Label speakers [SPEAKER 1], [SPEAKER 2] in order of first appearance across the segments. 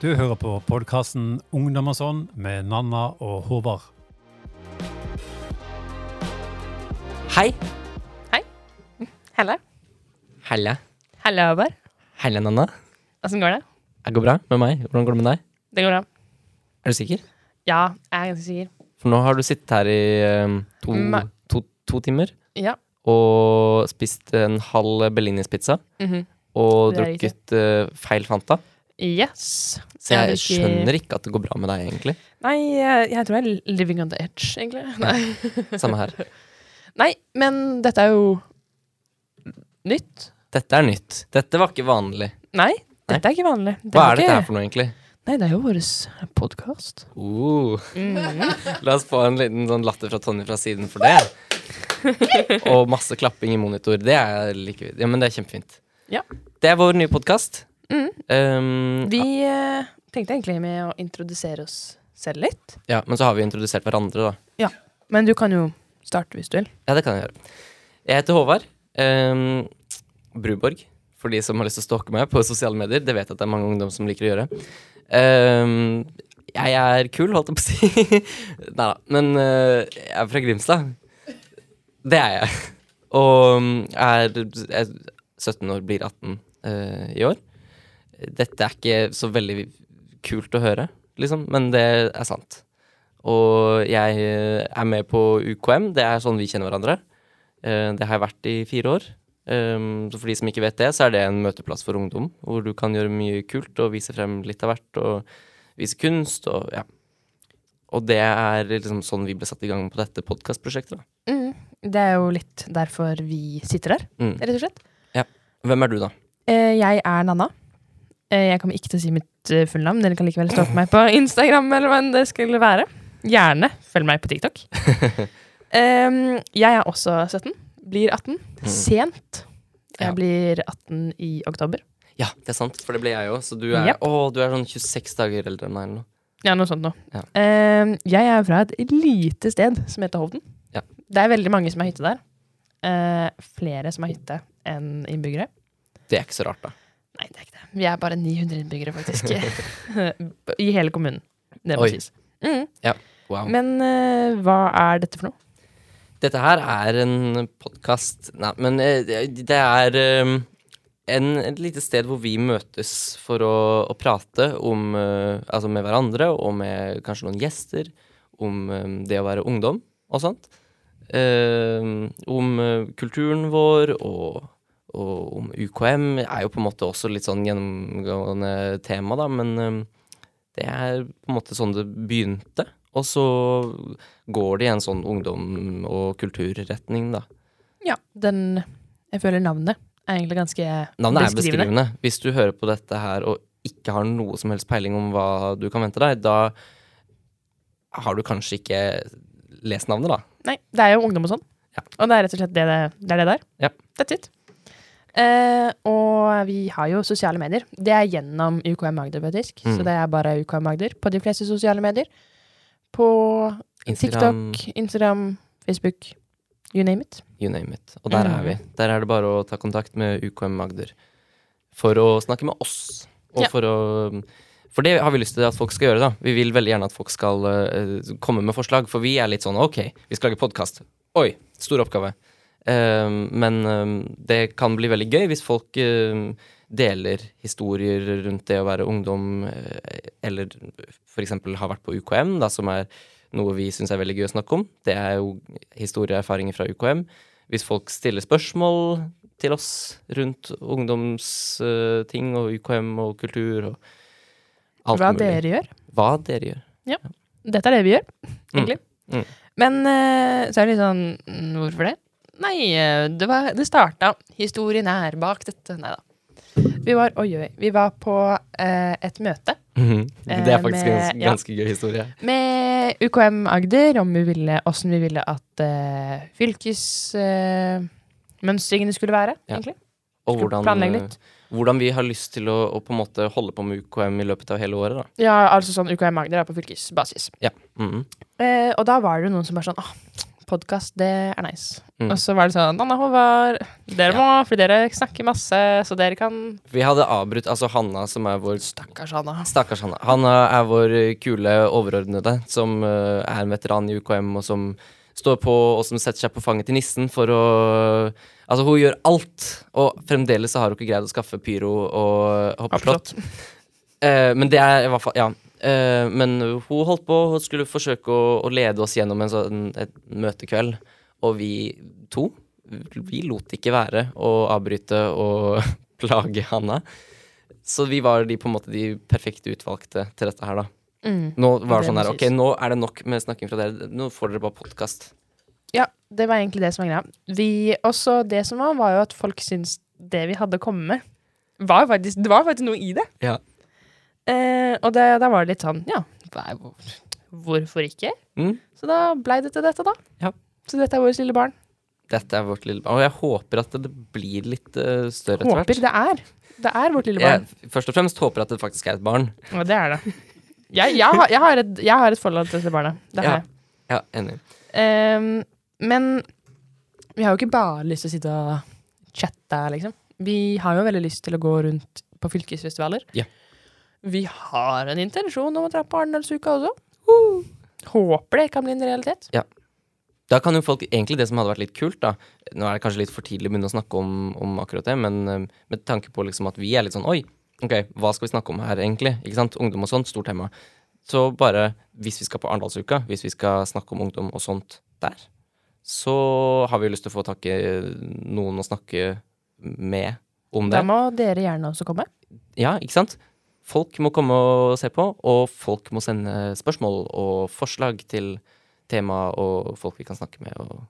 [SPEAKER 1] Du hører på podkasten Ungdom og sånn med Nanna og Håvard.
[SPEAKER 2] Hei.
[SPEAKER 3] Helle.
[SPEAKER 2] Helle.
[SPEAKER 3] Helle, Håvard.
[SPEAKER 2] Helle, Nanna.
[SPEAKER 3] Åssen går det?
[SPEAKER 2] Det går bra med meg. Hvordan går det med deg?
[SPEAKER 3] Det går bra.
[SPEAKER 2] Er du sikker?
[SPEAKER 3] Ja, jeg er ganske sikker.
[SPEAKER 2] For nå har du sittet her i eh, to,
[SPEAKER 3] Mm, Nei.
[SPEAKER 2] to, to timer
[SPEAKER 3] Ja.
[SPEAKER 2] og spist en halv Bellinis-pizza
[SPEAKER 3] Mhm.
[SPEAKER 2] og
[SPEAKER 3] Det er riktig.
[SPEAKER 2] drukket eh, feil Fanta.
[SPEAKER 3] Yes.
[SPEAKER 2] Så jeg
[SPEAKER 3] Jeg drikker-
[SPEAKER 2] skjønner ikke at det går bra med deg, egentlig.
[SPEAKER 3] Nei, jeg, jeg tror jeg er living on the edge, egentlig. Nei.
[SPEAKER 2] Samme her.
[SPEAKER 3] Nei, men dette er jo nytt.
[SPEAKER 2] Dette er nytt. Dette var ikke vanlig.
[SPEAKER 3] Nei, dette er ikke vanlig.
[SPEAKER 2] Hva er
[SPEAKER 3] ikke-
[SPEAKER 2] dette her for noe, egentlig?
[SPEAKER 3] Nei, det er jo vår podkast.
[SPEAKER 2] Uh.
[SPEAKER 3] Mm.
[SPEAKER 2] La oss få en liten sånn latter fra Tonje fra siden for det. Og masse klapping i monitor. Det er, like, ja, men det er kjempefint.
[SPEAKER 3] Ja.
[SPEAKER 2] Det er vår nye podkast.
[SPEAKER 3] Mhm.
[SPEAKER 2] Um,
[SPEAKER 3] Vi eh, tenkte egentlig med å introdusere oss selv litt.
[SPEAKER 2] ja, men så har vi introdusert hverandre, da.
[SPEAKER 3] Men du kan jo starte hvis du vil.
[SPEAKER 2] Ja, det kan jeg gjøre. Jeg heter Håvard um, Bruborg. For de som har lyst til å stalke meg på sosiale medier. Det vet jeg at det er mange ungdom som liker å gjøre. Um, jeg er kul, holdt jeg på å si. Nei da. Men uh, jeg er fra Grimstad. Det er jeg. Og um, er, er 17 år, blir 18 eh, i år. Dette er ikke så veldig kult å høre, liksom, men det er sant. Og jeg eh, er med på UKM. Det er sånn vi kjenner hverandre. Eh, Det har jeg vært i fire år. Um, Så for de som ikke vet det, så er det en møteplass for ungdom, hvor du kan gjøre mye kult og vise frem litt av hvert, og vise kunst og ja. Og det er liksom sånn vi ble satt i gang på dette podkastprosjektet. da.
[SPEAKER 3] Mm. Det er jo litt derfor vi sitter der,
[SPEAKER 2] Mm.
[SPEAKER 3] rett og slett.
[SPEAKER 2] Hvem er du, da?
[SPEAKER 3] Eh, jeg er Nanna. Eh, jeg kommer ikke til å si mitt eh, fulle navn. Dere kan likevel stalke meg på Instagram. eller hva enn det skulle være. Gjerne følg meg på TikTok. Em, jeg er også 17. Blir 18. Sent.
[SPEAKER 2] Ja.
[SPEAKER 3] Jeg blir 18 i oktober.
[SPEAKER 2] Ja, det er sant, for det ble jeg òg. Så du er,
[SPEAKER 3] Japp.
[SPEAKER 2] å, du er sånn 26 dager eldre enn meg eller noe.
[SPEAKER 3] Ja, noe sånt noe.
[SPEAKER 2] Ja.
[SPEAKER 3] Em, jeg er fra et lite sted som heter Hovden.
[SPEAKER 2] Ja.
[SPEAKER 3] Det er veldig mange som har hytte der. Eh, flere som har hytte enn innbyggere.
[SPEAKER 2] Det er ikke så rart, da.
[SPEAKER 3] Nei, det er ikke det. Vi er bare 900 innbyggere, faktisk. I hele kommunen. Det må
[SPEAKER 2] Oi.
[SPEAKER 3] sies. Mm.
[SPEAKER 2] Wow.
[SPEAKER 3] Men eh, hva er dette for noe?
[SPEAKER 2] Dette her er en podkast Nei, men eh, det det er eh, en, et lite sted hvor vi møtes for å, å prate om eh, Altså med hverandre og med kanskje noen gjester om eh, det å være ungdom og sånt. Eh, om eh, kulturen vår og, og om UKM er jo på en måte også litt sånn gjennomgående tema, da, men eh, det er på en måte sånn det begynte. Og så går det i en sånn ungdom- og kulturretning, da.
[SPEAKER 3] Ja, den Jeg føler navnet er egentlig ganske
[SPEAKER 2] Navnet er beskrivende. Hvis du hører på dette her og ikke har noe som helst peiling om hva du kan vente deg, da har du kanskje ikke lest navnet, da.
[SPEAKER 3] Nei, det er jo ungdom og sånn.
[SPEAKER 2] Ja.
[SPEAKER 3] Og det er rett og slett det det, det, er det der.
[SPEAKER 2] Ja.
[SPEAKER 3] That's it. Eh, og vi har jo sosiale medier. Det er gjennom UKM Agder, faktisk.
[SPEAKER 2] Mm.
[SPEAKER 3] Så det er bare UKM Agder på de fleste sosiale medier. På
[SPEAKER 2] Instagram,
[SPEAKER 3] TikTok, Instagram, Facebook, you name it.
[SPEAKER 2] you name it. Og der er vi. Der er det bare å ta kontakt med UKM Agder for å snakke med oss. Og
[SPEAKER 3] Ja.
[SPEAKER 2] for å For det har vi lyst til at folk skal gjøre, da. Vi vil veldig gjerne at folk skal eh, komme med forslag, for vi er litt sånn OK, vi skal lage podkast. Oi, stor oppgave. Eh, men eh, det kan bli veldig gøy hvis folk eh, deler historier rundt det å være ungdom, eh, eller f.eks. har vært på UKM, da, som er noe vi syns er veldig gøy å snakke om. Det er jo historie og erfaringer fra UKM. Hvis folk stiller spørsmål til oss rundt ungdomsting og UKM og kultur og alt
[SPEAKER 3] Hva
[SPEAKER 2] mulig.
[SPEAKER 3] dere gjør.
[SPEAKER 2] Hva dere gjør.
[SPEAKER 3] Dette er det vi gjør, egentlig.
[SPEAKER 2] Mm.
[SPEAKER 3] Men eh, så er det litt sånn mm, Hvorfor det? Nei, eh, det, var, det starta Historien er bak dette. Nei da. Vi var, oi, oi, vi var på eh, et møte
[SPEAKER 2] Det er faktisk en gans-
[SPEAKER 3] Eh, med- ja.
[SPEAKER 2] ganske gøy historie.
[SPEAKER 3] med UKM Agder om vi ville, hvordan vi ville at uh, fylkesmønstringene skulle være.
[SPEAKER 2] Ja.
[SPEAKER 3] egentlig.
[SPEAKER 2] Og hvordan, eh,
[SPEAKER 3] Planlegge litt.
[SPEAKER 2] hvordan vi har lyst til å, å på en måte holde på med UKM i løpet av hele året. Da.
[SPEAKER 3] Ja, altså sånn UKM Agder er på fylkesbasis.
[SPEAKER 2] Mhm.
[SPEAKER 3] Eh, og da var det jo noen som var sånn Åh, podkast, det er nice.
[SPEAKER 2] Mm.
[SPEAKER 3] Og så var det sånn Nanna Håvard, dere må, fordi dere snakker masse, så dere kan
[SPEAKER 2] Vi hadde avbrutt Altså Hanna, som er vår
[SPEAKER 3] Stakkars Hanna.
[SPEAKER 2] Stakkars Hanna. Hanna er vår eh, kule overordnede, som eh, er en veteran i UKM, og som står på, og som setter seg på fanget til nissen for å Altså, hun gjør alt, og fremdeles så har hun ikke greid å skaffe pyro og hoppeslott. Eh, men det er i hvert fall Ja. Eh, men hun holdt på, hun skulle forsøke å, å lede oss gjennom en sånn et møtekveld, og vi to vi lot ikke være å avbryte og plage Hanna. Så vi var de på en måte de perfekte utvalgte til dette her, da.
[SPEAKER 3] Mm.
[SPEAKER 2] Nå var det
[SPEAKER 3] Det
[SPEAKER 2] sånn her,
[SPEAKER 3] må
[SPEAKER 2] ok,
[SPEAKER 3] sies.
[SPEAKER 2] nå er det nok med snakking fra dere. Nå får dere bare podkast.
[SPEAKER 3] Ja, det var egentlig det som var greia. Vi, også det som var, var jo at folk syntes det vi hadde å komme med, var jo faktisk, det var faktisk noe i det.
[SPEAKER 2] Ja.
[SPEAKER 3] Eh, og det, da var det litt sånn, ja, hva er- hvor- hvorfor ikke?
[SPEAKER 2] Mm.
[SPEAKER 3] Så da blei det til dette, da.
[SPEAKER 2] Ja.
[SPEAKER 3] Så dette er vårt lille barn.
[SPEAKER 2] Dette er vårt lille barn. Og jeg håper at det blir litt eh, større etter
[SPEAKER 3] Håper
[SPEAKER 2] hvert.
[SPEAKER 3] det er. Det er vårt lille barn.
[SPEAKER 2] Jeg først og fremst håper at det faktisk er et barn.
[SPEAKER 3] Og det er det. Jeg, jeg, har, jeg, har, et, jeg har et forhold til dette barnet. Det har
[SPEAKER 2] Ja.
[SPEAKER 3] jeg.
[SPEAKER 2] Ja, enig.
[SPEAKER 3] Ehm, men vi har jo ikke bare lyst til å sitte og chatte, liksom. Vi har jo veldig lyst til å gå rundt på fylkesfestivaler.
[SPEAKER 2] Ja.
[SPEAKER 3] Vi har en intensjon om å dra på Arendalsuka også. Håper det kan bli en realitet.
[SPEAKER 2] Da kan jo folk, egentlig det som hadde vært litt kult da Nå er det kanskje litt for tidlig å begynne å snakke om, om akkurat det Men eh, med tanke på liksom at vi er litt sånn Oi, ok, hva skal vi snakke om her egentlig? Ikke sant? Ungdom og sånt, stort tema Så bare, hvis vi skal på Arndalsuka Hvis vi skal snakke om ungdom og sånt der Så har vi jo lyst til å få tak i noen å snakke med om
[SPEAKER 3] Da
[SPEAKER 2] det
[SPEAKER 3] må dere gjerne også komme.
[SPEAKER 2] Ja, ikke sant? Folk må komme og se på Og folk må sende spørsmål og forslag til tema Og folk vi kan snakke med og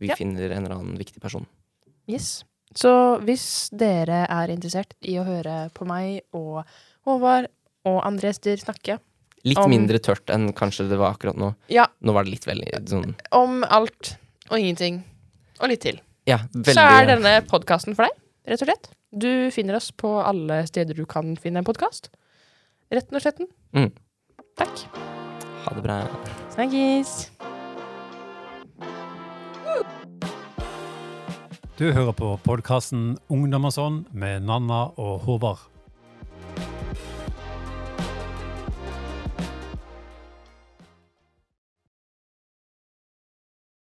[SPEAKER 2] vi
[SPEAKER 3] Ja.
[SPEAKER 2] finner en eller annen viktig person.
[SPEAKER 3] Yes. Så hvis dere er interessert i å høre på meg og Håvard og andre gjester snakke
[SPEAKER 2] Litt
[SPEAKER 3] Om-
[SPEAKER 2] mindre tørt enn kanskje det var akkurat nå.
[SPEAKER 3] Ja,
[SPEAKER 2] Nå var det litt veldig sånn
[SPEAKER 3] om alt og ingenting og litt til,
[SPEAKER 2] Ja, veldig
[SPEAKER 3] så er denne podkasten for deg, rett og slett. Du finner oss på alle steder du kan finne en podkast. Retten og sletten.
[SPEAKER 2] Mm.
[SPEAKER 3] Takk.
[SPEAKER 2] Ha det bra.
[SPEAKER 3] Snakkes.
[SPEAKER 1] Du hører på podkasten Ungdom og sånn med Nanna og Håvard.